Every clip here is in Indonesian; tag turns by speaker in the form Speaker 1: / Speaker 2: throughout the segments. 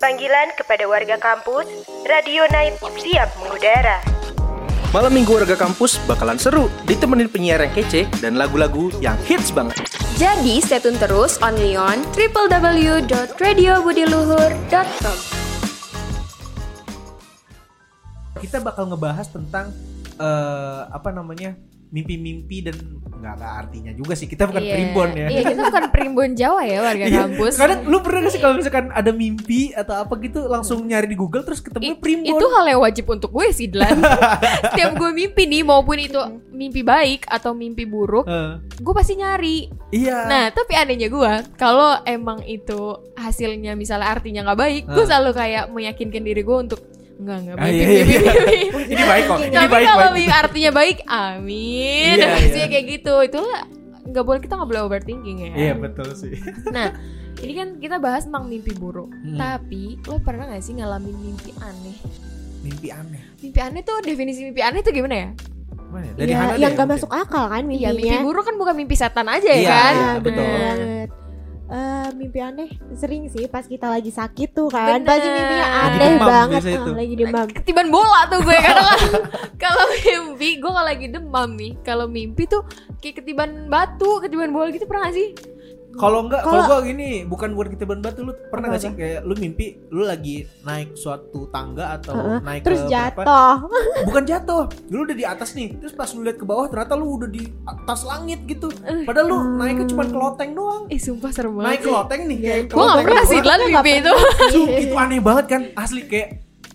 Speaker 1: Panggilan kepada warga kampus, Radio Night siap mengudara.
Speaker 2: Malam minggu warga kampus bakalan seru, ditemenin penyiar yang kece dan lagu-lagu yang hits banget.
Speaker 3: Jadi stay tune terus only on www.radiobudiluhur.com
Speaker 2: Kita bakal ngebahas tentang eh, apa namanya mimpi-mimpi dan nggak nggak artinya juga sih. Kita bukan
Speaker 4: Iya.
Speaker 2: primbon ya.
Speaker 4: Iya, kita bukan primbon Jawa ya warga
Speaker 2: Iya.
Speaker 4: kampus.
Speaker 2: Kadang lu pernah gak sih kalau misalkan ada mimpi atau apa gitu langsung nyari di Google terus ketemu
Speaker 4: I-
Speaker 2: primbon.
Speaker 4: Itu hal yang wajib untuk gue sih, Dilan. Setiap gue mimpi nih, maupun itu mimpi baik atau mimpi buruk,
Speaker 2: Eh,
Speaker 4: gue pasti nyari.
Speaker 2: iya.
Speaker 4: Nah, tapi anehnya gue, kalau emang itu hasilnya misalnya artinya nggak baik, gue
Speaker 2: Ah.
Speaker 4: selalu kayak meyakinkan diri gue untuk enggak enggak
Speaker 2: Ah, iya,
Speaker 4: mimpi, mimpi,
Speaker 2: iya.
Speaker 4: mimpi.
Speaker 2: ini baik kok. Ini
Speaker 4: Tapi
Speaker 2: baik
Speaker 4: kalau
Speaker 2: baik.
Speaker 4: mimpi artinya baik,
Speaker 2: Iya,
Speaker 4: amin. Nah, Maksudnya
Speaker 2: iya.
Speaker 4: kayak gitu, itulah nggak boleh kita nggak boleh overthinking ya.
Speaker 2: Iya betul sih.
Speaker 4: Nah, ini kan kita bahas tentang mimpi buruk.
Speaker 2: Hmm.
Speaker 4: Tapi lo pernah gak sih ngalamin mimpi aneh?
Speaker 2: Hmm, Mimpi aneh.
Speaker 4: Mimpi aneh tuh definisi mimpi aneh tuh gimana ya?
Speaker 2: Mana ya? Dari
Speaker 5: Ya,
Speaker 2: Hana deh,
Speaker 5: yang gak
Speaker 2: mungkin.
Speaker 5: masuk akal kan
Speaker 4: Iya, mimpi
Speaker 5: mimpinya.
Speaker 4: buruk kan bukan mimpi setan aja ya
Speaker 2: Iya,
Speaker 4: kan?
Speaker 2: iya, betul.
Speaker 4: Nah,
Speaker 5: banget. Eh, mimpi aneh sering sih pas kita lagi sakit tuh kan.
Speaker 4: Bener.
Speaker 5: Pasti mimpinya
Speaker 4: Lagi
Speaker 5: aneh
Speaker 2: demam
Speaker 5: banget.
Speaker 2: biasanya
Speaker 5: Ah,
Speaker 2: tuh.
Speaker 5: lagi demam.
Speaker 4: Ketiban bola tuh gue karena kalau- kalau mimpi gue kalau lagi demam nih, kalau mimpi tuh kayak ketiban batu, ketiban bola gitu pernah gak sih?
Speaker 2: Kalau enggak, kalau
Speaker 5: Kalau-
Speaker 2: gua gini, bukan buat kita ban batu, lu pernah gak
Speaker 5: Apa-apa?
Speaker 2: sih kayak lu mimpi lu lagi naik suatu tangga atau
Speaker 5: Heeh,
Speaker 2: naik
Speaker 5: Terus
Speaker 2: ke berapa?
Speaker 5: jatuh.
Speaker 2: Bukan jatuh, lu udah di atas nih, terus pas lu lihat ke bawah ternyata lu udah di atas langit gitu. Padahal lu naiknya cuma ke loteng doang.
Speaker 4: Eh sumpah serem
Speaker 2: Naik
Speaker 4: banget.
Speaker 2: ke loteng nih, kayak ke
Speaker 4: Gue gak
Speaker 2: loteng.
Speaker 4: pernah sih Dilan mimpi itu.
Speaker 2: Sumpah, itu aneh banget kan, asli kayak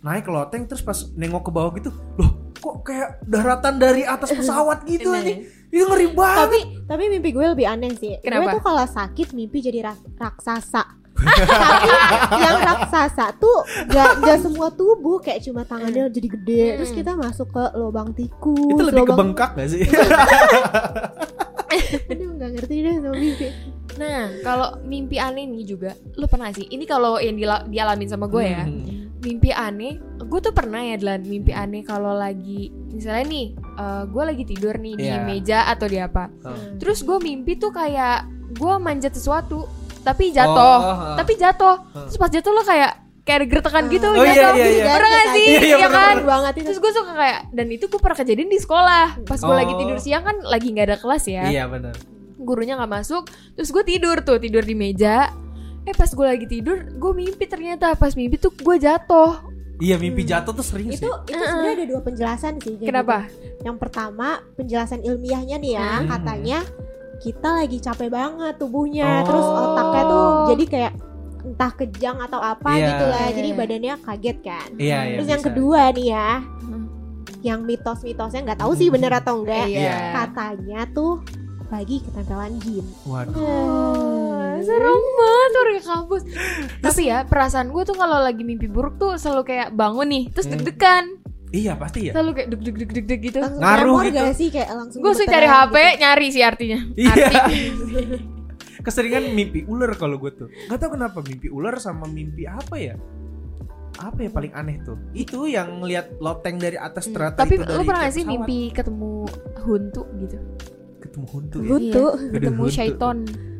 Speaker 2: naik ke loteng terus pas nengok ke bawah gitu, loh kok kayak daratan dari atas pesawat gitu
Speaker 4: Nah.
Speaker 2: aja. Itu ngeri banget.
Speaker 5: tapi tapi mimpi gue lebih aneh sih.
Speaker 4: Kenapa?
Speaker 5: Gue tuh kalau sakit mimpi jadi rak- raksasa. tapi yang raksasa tuh gak, gak semua tubuh kayak cuma tangannya jadi gede.
Speaker 4: Hmm.
Speaker 5: Terus kita masuk ke lubang tikus.
Speaker 2: itu lebih ke
Speaker 5: lubang...
Speaker 2: bengkak gak sih?
Speaker 5: Aduh gak ngerti deh sama mimpi.
Speaker 4: Nah, kalau mimpi aneh nih juga, lo pernah sih? Ini kalau yang dila- dialamin sama gue ya,
Speaker 2: Hmm.
Speaker 4: mimpi aneh gue tuh pernah ya Dlan mimpi aneh kalau lagi misalnya nih eh, gue lagi tidur nih di
Speaker 2: Iya.
Speaker 4: meja atau di apa
Speaker 2: Hmm.
Speaker 4: terus gue mimpi tuh kayak gue manjat sesuatu
Speaker 2: Oh,
Speaker 4: tapi jatuh
Speaker 2: heeh.
Speaker 4: tapi jatuh
Speaker 2: Hmm.
Speaker 4: terus pas jatuh lo kayak kayak ada gertakan gitu
Speaker 2: Oh, iya,
Speaker 4: jatuh
Speaker 2: iya, iya.
Speaker 4: pernah gak sih
Speaker 2: Iya, iya,
Speaker 4: ya kan
Speaker 5: Keren banget itu.
Speaker 4: terus gue suka kayak dan itu gue pernah kejadian di sekolah pas gue
Speaker 2: Oh.
Speaker 4: lagi tidur siang kan lagi nggak ada kelas ya
Speaker 2: Iya benar.
Speaker 4: gurunya nggak masuk terus gue tidur tuh tidur di meja eh pas gue lagi tidur gue mimpi ternyata pas mimpi tuh gue jatuh
Speaker 2: Iya mimpi jatuh tuh sering
Speaker 5: Hmm. itu
Speaker 2: sih.
Speaker 5: itu sebenarnya ada dua penjelasan sih kayak
Speaker 4: kenapa
Speaker 5: gitu. yang pertama penjelasan ilmiahnya nih ya
Speaker 2: Hmm.
Speaker 5: katanya kita lagi capek banget
Speaker 2: Oh.
Speaker 5: tubuhnya terus otaknya tuh jadi kayak entah kejang atau apa
Speaker 2: Iya.
Speaker 5: gitu lah
Speaker 4: Iya.
Speaker 5: jadi badannya kaget kan
Speaker 2: Iya iya.
Speaker 5: terus
Speaker 2: bisa.
Speaker 5: yang kedua nih ya
Speaker 4: Hmm.
Speaker 5: yang mitos-mitosnya nggak tahu sih bener atau enggak
Speaker 2: Iya.
Speaker 5: katanya tuh lagi ketempelan jin
Speaker 2: Waduh.
Speaker 4: Wah, Serem banget warga kampus. Tapi ya perasaan gue tuh kalau lagi mimpi buruk tuh selalu kayak bangun nih, terus
Speaker 2: Hmm.
Speaker 4: deg-degan,
Speaker 2: Iya pasti ya.
Speaker 4: selalu kayak deg deg deg deg deg gitu.
Speaker 5: Langsung
Speaker 2: Ngaruh
Speaker 5: tremor
Speaker 2: gitu.
Speaker 5: nggak sih kayak langsung
Speaker 4: Gue langsung cari
Speaker 5: gemeteran
Speaker 4: HP,
Speaker 5: gitu.
Speaker 4: nyari sih artinya.
Speaker 2: Iya.
Speaker 4: Arti.
Speaker 2: Keseringan mimpi ular kalau gue tuh. Gak tau kenapa mimpi ular sama mimpi apa ya? Apa ya paling aneh tuh? Itu yang ngeliat loteng dari atas
Speaker 5: Hmm.
Speaker 2: ternyata
Speaker 4: Tapi
Speaker 2: itu
Speaker 4: lu
Speaker 2: dari
Speaker 4: pernah gak
Speaker 2: kayak
Speaker 4: sih
Speaker 2: pesawat.
Speaker 4: mimpi ketemu huntu gitu?
Speaker 2: ketemu hantu ya?
Speaker 5: butuh
Speaker 2: Aduh,
Speaker 4: Ketemu
Speaker 2: hantu.
Speaker 4: syaiton.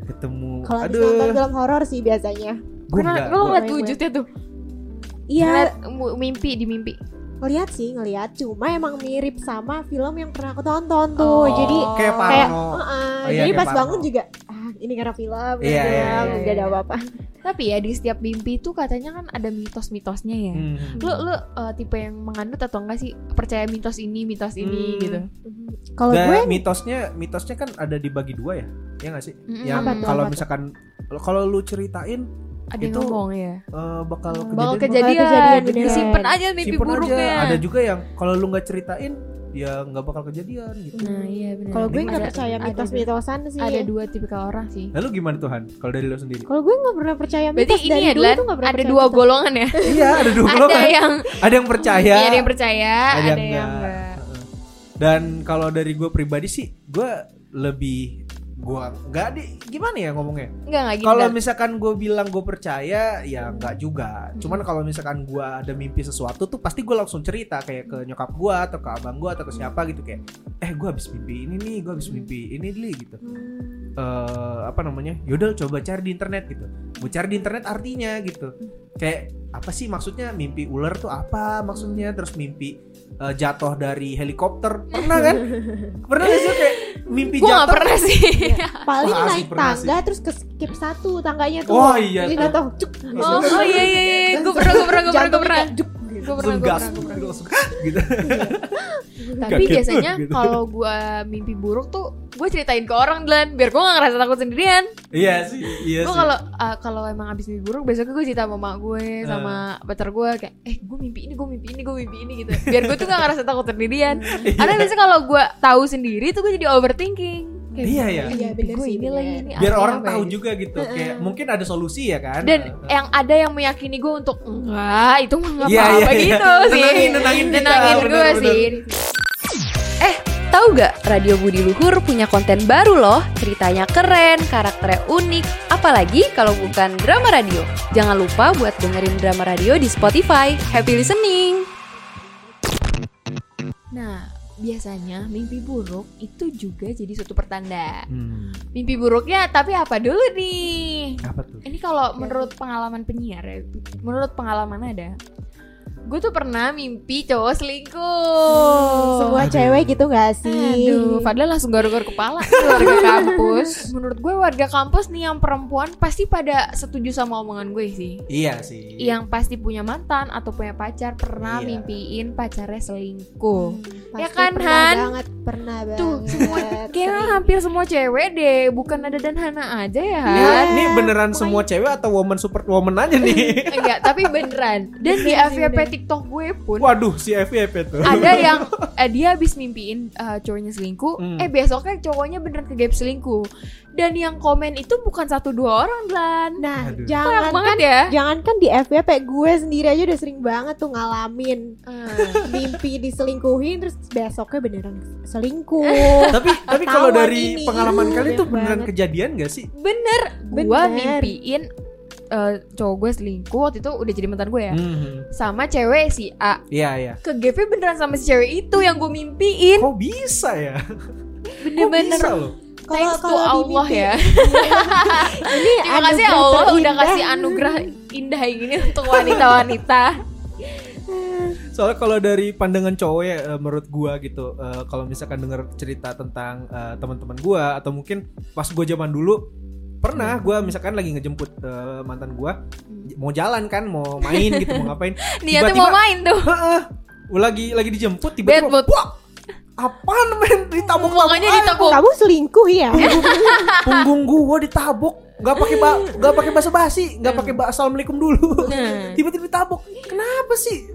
Speaker 2: Ketemu
Speaker 5: kalau habis
Speaker 2: Iya. aduh.
Speaker 5: nonton film horor sih biasanya
Speaker 2: Gua
Speaker 4: Pernah
Speaker 2: enggak,
Speaker 4: lu
Speaker 2: gua-
Speaker 4: ngeliat
Speaker 5: Gue-
Speaker 4: wujudnya tuh.
Speaker 5: iya
Speaker 4: Ngeliat mu- mimpi di mimpi.
Speaker 5: ngeliat sih ngeliat cuma emang mirip sama film yang pernah aku tonton tuh
Speaker 4: Oh.
Speaker 5: jadi
Speaker 2: kayak parno.
Speaker 5: kayak, uh-uh,
Speaker 2: Oh iya,
Speaker 5: jadi
Speaker 2: kayak
Speaker 5: pas
Speaker 2: Parno.
Speaker 5: bangun juga ah, ini karena film
Speaker 2: Iya,
Speaker 5: karena
Speaker 2: iya,
Speaker 5: film,
Speaker 4: iya,
Speaker 5: nggak ada
Speaker 4: iya.
Speaker 5: apa-apa
Speaker 4: Tapi ya di setiap mimpi tuh katanya kan ada mitos-mitosnya ya.
Speaker 2: Hmm.
Speaker 4: Lu lu eh, tipe yang menganut atau enggak sih percaya mitos ini, mitos ini
Speaker 2: Hmm.
Speaker 4: gitu?
Speaker 5: kalau
Speaker 2: Dan
Speaker 5: gue
Speaker 2: mitosnya mitosnya kan ada dibagi dua ya. Iya gak sih?
Speaker 4: Mm-mm.
Speaker 2: Yang
Speaker 5: Hmm, Apa tuh,
Speaker 2: kalau
Speaker 5: apa tuh?
Speaker 2: misalkan kalau lu ceritain
Speaker 4: Ada yang
Speaker 2: itu-
Speaker 4: ngomong ya.
Speaker 2: eh, bakal kejadian
Speaker 4: bakal
Speaker 2: bakal
Speaker 4: kejadian,
Speaker 5: bakal kejadian, beneran.
Speaker 4: disimpan aja mimpi
Speaker 2: Simpen
Speaker 4: buruknya
Speaker 2: aja. Ada juga yang kalau lu nggak ceritain ya nggak bakal kejadian gitu.
Speaker 4: nah iya benar
Speaker 5: kalau gue nggak
Speaker 4: Ada-
Speaker 5: percaya
Speaker 4: ada-
Speaker 5: mitos-mitosan sih
Speaker 4: ada dua tipikal orang sih
Speaker 2: Lalu Nah, gimana Tuhan? Kalau dari lu sendiri?
Speaker 5: kalau gue nggak pernah percaya mitos
Speaker 4: berarti ini
Speaker 5: dari
Speaker 4: ya
Speaker 5: dulu
Speaker 4: Dlan
Speaker 5: tuh nggak pernah
Speaker 4: ada
Speaker 5: percaya
Speaker 4: dua
Speaker 5: mitos.
Speaker 4: golongan ya
Speaker 2: iya, ada dua
Speaker 4: ada
Speaker 2: golongan.
Speaker 4: yang
Speaker 2: Ada yang percaya.
Speaker 4: iya, ada yang percaya ada, yang
Speaker 2: nggak.
Speaker 4: enggak
Speaker 2: Heeh. Dan kalau dari gue pribadi sih, gue lebih gue nggak di gimana ya ngomongnya.
Speaker 4: enggak enggak gitu
Speaker 2: Kalau
Speaker 4: Dlan.
Speaker 2: misalkan gue bilang gue percaya, ya nggak juga. Cuman kalau misalkan gue ada mimpi sesuatu tuh pasti gue langsung cerita kayak ke nyokap gue atau ke abang gue atau ke siapa gitu kayak, eh gue habis mimpi ini nih, gue habis mimpi ini nih gitu. eh, apa namanya yaudah coba cari di internet gitu gue cari di internet artinya gitu kayak apa sih maksudnya mimpi ular tuh apa maksudnya terus mimpi eh, jatuh dari helikopter pernah kan pernah gak sih lu kayak mimpi
Speaker 6: Gue gak
Speaker 2: jatuh Iya.
Speaker 6: pernah sih.
Speaker 5: Paling
Speaker 2: Wah, asik,
Speaker 5: naik
Speaker 2: pernah
Speaker 5: tangga terus ke skip satu tangganya tuh.
Speaker 2: Oh, iya.
Speaker 5: Jadi jatuh. Cuk.
Speaker 6: Oh, oh iya iya iya, gue pernah gue pernah gue pernah gue
Speaker 5: Jantungnya
Speaker 6: pernah.
Speaker 5: kayak juk, gitu.
Speaker 6: Gue pernah
Speaker 2: langsung
Speaker 6: gue
Speaker 2: gas
Speaker 6: pernah gue pernah.
Speaker 2: langsung gitu
Speaker 6: Tapi
Speaker 2: Kaget,
Speaker 6: biasanya
Speaker 2: gitu.
Speaker 6: kalau gue mimpi buruk tuh gue ceritain ke orang Glenn biar gue gak ngerasa takut sendirian.
Speaker 2: iya sih iya
Speaker 6: Gue
Speaker 2: sih
Speaker 6: kalau ah, kalau emang abis mimpi buruk besoknya gue cerita sama mak gue sama pacar gue kayak eh gue mimpi ini gue mimpi ini gue mimpi ini gitu. Biar gue tuh gak ngerasa takut sendirian.
Speaker 2: Iya.
Speaker 6: Karena biasanya kalau gue tahu sendiri tuh gue jadi overthinking. Kayak,
Speaker 2: iya ya
Speaker 5: Iya,
Speaker 6: Iya,
Speaker 5: bener
Speaker 6: gue
Speaker 5: sih,
Speaker 6: ini
Speaker 5: bener.
Speaker 6: lagi ini
Speaker 2: biar
Speaker 6: apa
Speaker 2: orang
Speaker 6: ya,
Speaker 2: tahu
Speaker 6: gitu.
Speaker 2: juga gitu kayak mungkin ada solusi ya kan
Speaker 6: dan
Speaker 2: Heeh.
Speaker 6: yang ada yang meyakini gue untuk enggak itu mah nggak
Speaker 2: Iya,
Speaker 6: apa-apa
Speaker 2: iya, iya.
Speaker 6: gitu sih
Speaker 2: Nenangin, nenangin kita,
Speaker 6: gue
Speaker 2: bener-bener.
Speaker 6: sih
Speaker 4: Eh, tahu gak Radio Budi Luhur punya konten baru loh? Ceritanya keren, karakternya unik, apalagi kalau bukan drama radio. Jangan lupa buat dengerin drama radio di Spotify. Happy listening!
Speaker 6: nah biasanya mimpi buruk itu juga jadi suatu pertanda
Speaker 2: Hmm,
Speaker 6: mimpi buruknya tapi apa dulu nih
Speaker 2: apa tuh
Speaker 6: ini kalau menurut pengalaman penyiar ya menurut pengalaman ada gue tuh pernah mimpi cowok selingkuh
Speaker 5: Semua
Speaker 2: Aduh.
Speaker 5: cewek gitu gak sih?
Speaker 6: Aduh, padahal langsung garuk-garuk kepala warga kampus. Menurut gue warga kampus nih yang perempuan pasti pada setuju sama omongan gue sih.
Speaker 2: iya sih
Speaker 6: Yang pasti punya mantan atau punya pacar pernah
Speaker 2: Iya.
Speaker 6: mpiin pacarnya selingkuh.
Speaker 5: Pasti
Speaker 6: Ya kan,
Speaker 5: pernah
Speaker 6: Han?
Speaker 5: banget, pernah banget.
Speaker 6: Tuh, semua kayaknya hampir semua cewek deh, bukan ada dan Hana aja ya.
Speaker 2: Ini-
Speaker 6: Han?
Speaker 2: ini Iya, beneran semua cewek atau woman super woman aja nih
Speaker 6: Enggak, tapi beneran. Dan di FYP TikTok gue pun
Speaker 2: waduh si FYP tuh
Speaker 6: ada yang eh, dia habis mimpiin eh, cowoknya selingkuh
Speaker 2: Hmm.
Speaker 6: eh besoknya cowoknya beneran ke gap selingkuh dan yang komen itu bukan satu dua orang Glan
Speaker 5: Nah,
Speaker 2: Aduh.
Speaker 5: jangan
Speaker 6: banyak
Speaker 5: kan
Speaker 6: banget ya
Speaker 5: Jangankan di FYP gue sendiri aja udah sering banget tuh ngalamin
Speaker 6: Ah.
Speaker 5: mimpi diselingkuhin terus besoknya beneran selingkuh.
Speaker 2: tapi tapi kalau
Speaker 5: Ketahuan
Speaker 2: dari
Speaker 5: ini.
Speaker 2: pengalaman
Speaker 5: Iya,
Speaker 2: kalian tuh
Speaker 5: banyak
Speaker 2: beneran
Speaker 5: banget.
Speaker 2: kejadian gak sih
Speaker 6: bener gue
Speaker 5: Bener.
Speaker 6: mimpiin eh, cowok gue selingkuh waktu itu udah jadi mantan gue ya
Speaker 2: Hmm,
Speaker 6: sama cewek si A
Speaker 2: iya iya
Speaker 6: ke gap beneran sama si cewek itu yang gue mimpiin
Speaker 2: kok bisa ya kok
Speaker 6: bener-bener
Speaker 2: bisa loh
Speaker 6: thanks to Allah
Speaker 5: dimimpi-
Speaker 6: ya
Speaker 5: Ini
Speaker 6: Terima kasih ya
Speaker 5: anugerah
Speaker 6: Allah udah
Speaker 5: terindah.
Speaker 6: kasih anugerah indah ini untuk wanita-wanita
Speaker 2: soalnya kalau dari pandangan cowok ya eh, menurut gua gitu eh, kalau misalkan denger cerita tentang eh, teman-teman gua atau mungkin pas gua zaman dulu pernah gua misalkan lagi ngejemput eh, mantan gua mau jalan kan mau main gitu mau ngapain
Speaker 6: Hmm. niatnya mau
Speaker 2: Tiba-tiba-
Speaker 6: main tuh
Speaker 2: Heeh. lagi lagi dijemput
Speaker 6: bad
Speaker 2: tiba-tiba
Speaker 6: mood
Speaker 2: apaan men ditabok
Speaker 6: pokoknya ditekuk
Speaker 5: Kamu selingkuh ya?
Speaker 2: punggung gua ditabok nggak pakai ba nggak pakai bahasa basi nggak pakai ba- assalamualaikum dulu
Speaker 6: Nah.
Speaker 2: tiba-tiba ditabok kenapa sih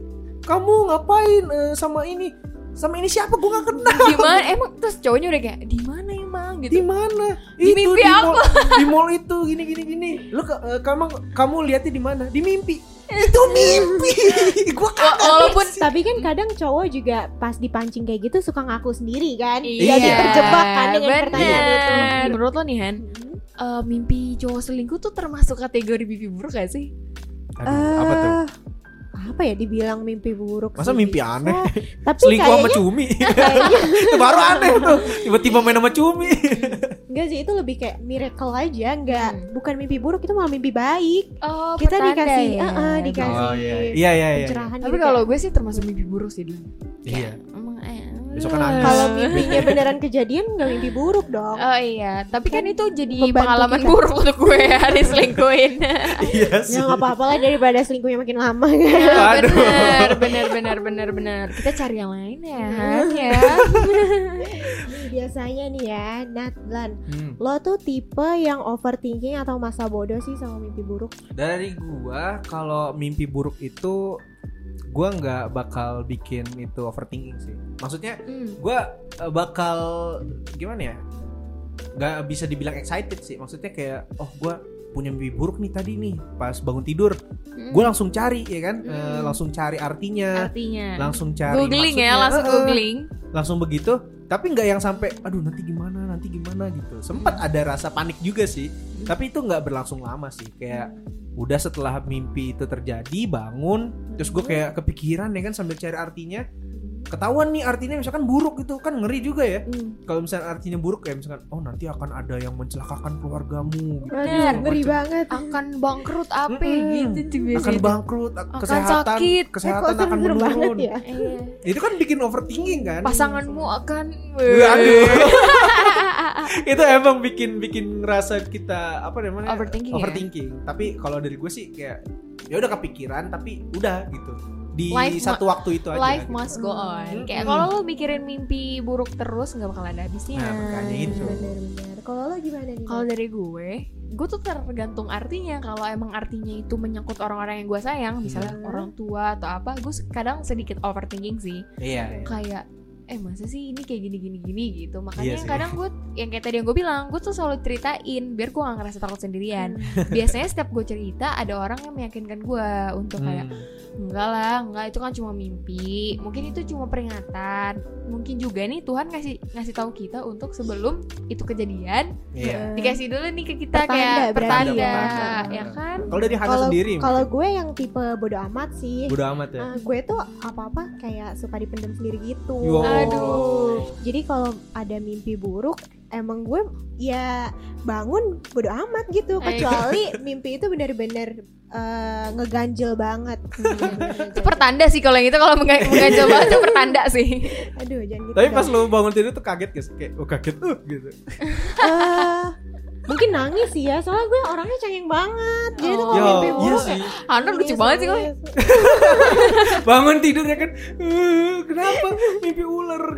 Speaker 2: kamu ngapain eh, sama ini sama ini siapa gua nggak kenal
Speaker 6: gimana emang terus cowoknya udah kayak di mana emang
Speaker 2: di
Speaker 6: gitu
Speaker 2: mana
Speaker 6: Di mimpi aku.
Speaker 2: mall, di mall itu gini gini gini lu ke- eh, kamu kamu lihatnya di mana di mimpi itu mimpi gua
Speaker 6: Wa-
Speaker 2: kagak
Speaker 6: walaupun
Speaker 5: Tapi kan kadang cowok juga pas dipancing kayak gitu suka ngaku sendiri kan.
Speaker 6: iya
Speaker 5: Jadi terjebak kan dengan pertanyaan itu.
Speaker 6: bener. menurut lo nih Han eh, mimpi cowok selingkuh tuh termasuk kategori mimpi buruk gak sih
Speaker 2: apa tuh
Speaker 5: Eh, apa ya dibilang mimpi buruk
Speaker 2: Masa
Speaker 5: sih
Speaker 2: mimpi
Speaker 5: bisa.
Speaker 2: aneh?
Speaker 5: tapi
Speaker 2: selingkuh sama
Speaker 5: kayaknya
Speaker 2: cumi itu baru aneh tuh tiba-tiba main sama cumi
Speaker 5: enggak sih itu lebih kayak miracle aja enggak
Speaker 6: Hmm.
Speaker 5: bukan mimpi buruk itu malah mimpi baik
Speaker 6: oh,
Speaker 5: kita
Speaker 6: pertanda
Speaker 5: dikasih
Speaker 6: ya.
Speaker 5: eh, eh, dikasih
Speaker 2: iya iya iya
Speaker 5: pencerahan
Speaker 6: tapi
Speaker 5: gitu
Speaker 6: kalau
Speaker 5: kayak,
Speaker 6: gue sih termasuk mimpi buruk sih dulu
Speaker 2: iya
Speaker 6: emang eh,
Speaker 2: Besok kan nangis.
Speaker 5: kalau mimpinya beneran kejadian enggak mimpi buruk dong
Speaker 6: Oh iya, tapi kan itu jadi
Speaker 5: Membantu
Speaker 6: pengalaman
Speaker 5: kita.
Speaker 6: buruk untuk gue ya, diselingkuhin.
Speaker 2: iya sih
Speaker 5: ya nggak apa-apa lah daripada selingkuhnya makin lama kan
Speaker 2: Aduh.
Speaker 6: bener, bener, bener, bener, bener. Kita cari yang lain ya, Han, ya.
Speaker 5: biasanya nih ya Natlan
Speaker 2: Hmm,
Speaker 5: lo tuh tipe yang overthinking atau masa bodoh sih sama mimpi buruk
Speaker 2: dari gua kalau mimpi buruk itu gua nggak bakal bikin itu overthinking sih maksudnya
Speaker 6: Hmm.
Speaker 2: gua eh, bakal gimana ya nggak bisa dibilang excited sih maksudnya kayak oh gua punya mimpi buruk nih tadi nih pas bangun tidur gua langsung cari ya kan Eh,
Speaker 6: Hmm.
Speaker 2: langsung cari artinya
Speaker 6: artinya
Speaker 2: langsung cari
Speaker 6: googling ya
Speaker 2: maksudnya.
Speaker 6: langsung
Speaker 2: Eh, eh.
Speaker 6: googling
Speaker 2: langsung begitu tapi nggak yang sampai aduh nanti gimana nanti gimana gitu sempat ada rasa panik juga sih tapi itu nggak berlangsung lama sih kayak udah setelah mimpi itu terjadi bangun terus gue kayak kepikiran ya kan sambil cari artinya ketahuan nih artinya misalkan buruk gitu kan ngeri juga ya
Speaker 5: Hmm.
Speaker 2: kalau misalkan artinya buruk kayak misalkan oh nanti akan ada yang mencelakakan keluargamu gitu.
Speaker 5: Aduh, ngeri
Speaker 2: Macam-
Speaker 5: banget.
Speaker 6: akan bangkrut apa
Speaker 2: Mm-mm.
Speaker 6: gitu cuy
Speaker 2: akan
Speaker 6: biasanya.
Speaker 2: bangkrut ak-
Speaker 6: Akan
Speaker 2: kesehatan
Speaker 6: sakit.
Speaker 5: Eh,
Speaker 2: kesehatan
Speaker 5: kok
Speaker 2: akan
Speaker 5: seru banget
Speaker 2: menurun
Speaker 5: ya?
Speaker 6: Iya.
Speaker 2: itu kan bikin overthinking kan
Speaker 6: pasanganmu akan
Speaker 2: Wih, Iya, aduh. itu emang bikin bikin ngerasa kita apa namanya
Speaker 6: Overthinking ya?
Speaker 2: overthinking. tapi kalau dari gue sih kayak ya udah kepikiran tapi udah gitu di
Speaker 6: Life
Speaker 2: satu waktu itu aja
Speaker 6: life
Speaker 2: gitu.
Speaker 6: must go on kayak
Speaker 2: Mm-mm.
Speaker 6: kalau lo mikirin mimpi buruk terus nggak bakal ada habisnya
Speaker 2: nah makanya
Speaker 6: iya,
Speaker 2: itu
Speaker 5: Benar-benar. Kalau lo gimana nih?
Speaker 6: Kalau dari gue, gue tuh tergantung artinya. Kalau emang artinya itu menyangkut orang-orang yang gue sayang, misalnya
Speaker 2: Mm-hmm.
Speaker 5: Hmm.
Speaker 6: orang tua atau apa, gue se- kadang sedikit overthinking sih.
Speaker 2: iya iya.
Speaker 6: Kayak, eh masa sih ini kayak gini-gini-gini
Speaker 2: Iya
Speaker 6: gitu. Makanya
Speaker 2: sih.
Speaker 6: kadang gue, yang kayak tadi yang gue bilang, gue tuh selalu ceritain biar gue gak ngerasa takut sendirian.
Speaker 5: Hmm.
Speaker 6: Biasanya setiap gue cerita, ada orang yang meyakinkan gue untuk kayak,
Speaker 2: Hmm.
Speaker 6: enggak lah, enggak itu kan cuma mimpi. Mungkin itu cuma peringatan. Mungkin juga nih Tuhan ngasih ngasih tahu kita untuk sebelum itu kejadian
Speaker 2: iya
Speaker 5: Eh,
Speaker 6: dikasih dulu nih ke kita
Speaker 5: Pertanda
Speaker 6: kayak
Speaker 5: berarti
Speaker 6: pertanda,
Speaker 2: ya.
Speaker 6: ya kan
Speaker 2: kalau dari Hana
Speaker 5: Kalau
Speaker 2: sendiri
Speaker 5: kalau gue yang tipe bodo amat sih.
Speaker 2: bodo amat ya
Speaker 5: Eh, gue tuh apa-apa kayak suka dipendam sendiri gitu.
Speaker 2: Yo.
Speaker 6: Aduh.
Speaker 5: Jadi kalau ada mimpi buruk emang gue ya bangun bodo amat gitu
Speaker 6: Eh.
Speaker 5: kecuali mimpi itu benar-benar eh, ngeganjel banget.
Speaker 6: itu pertanda sih kalau yang itu kalau mengga- mengganjal banget itu pertanda sih
Speaker 5: Aduh, jangan gitu.
Speaker 2: tapi
Speaker 5: dong.
Speaker 2: pas lo bangun tidur tuh kaget guys kayak oh kaget uh gitu
Speaker 5: Eh, mungkin nangis sih ya, soalnya gue orangnya cengeng banget. Jadi tuh
Speaker 6: Oh,
Speaker 5: kalau mimpi
Speaker 2: iya
Speaker 5: buruk
Speaker 2: sih
Speaker 6: Anda lucu
Speaker 5: Iya
Speaker 6: banget sih kalau
Speaker 5: nangis.
Speaker 2: bangun "Eh, gitu. tidur ya kan "Uh, kenapa mimpi ular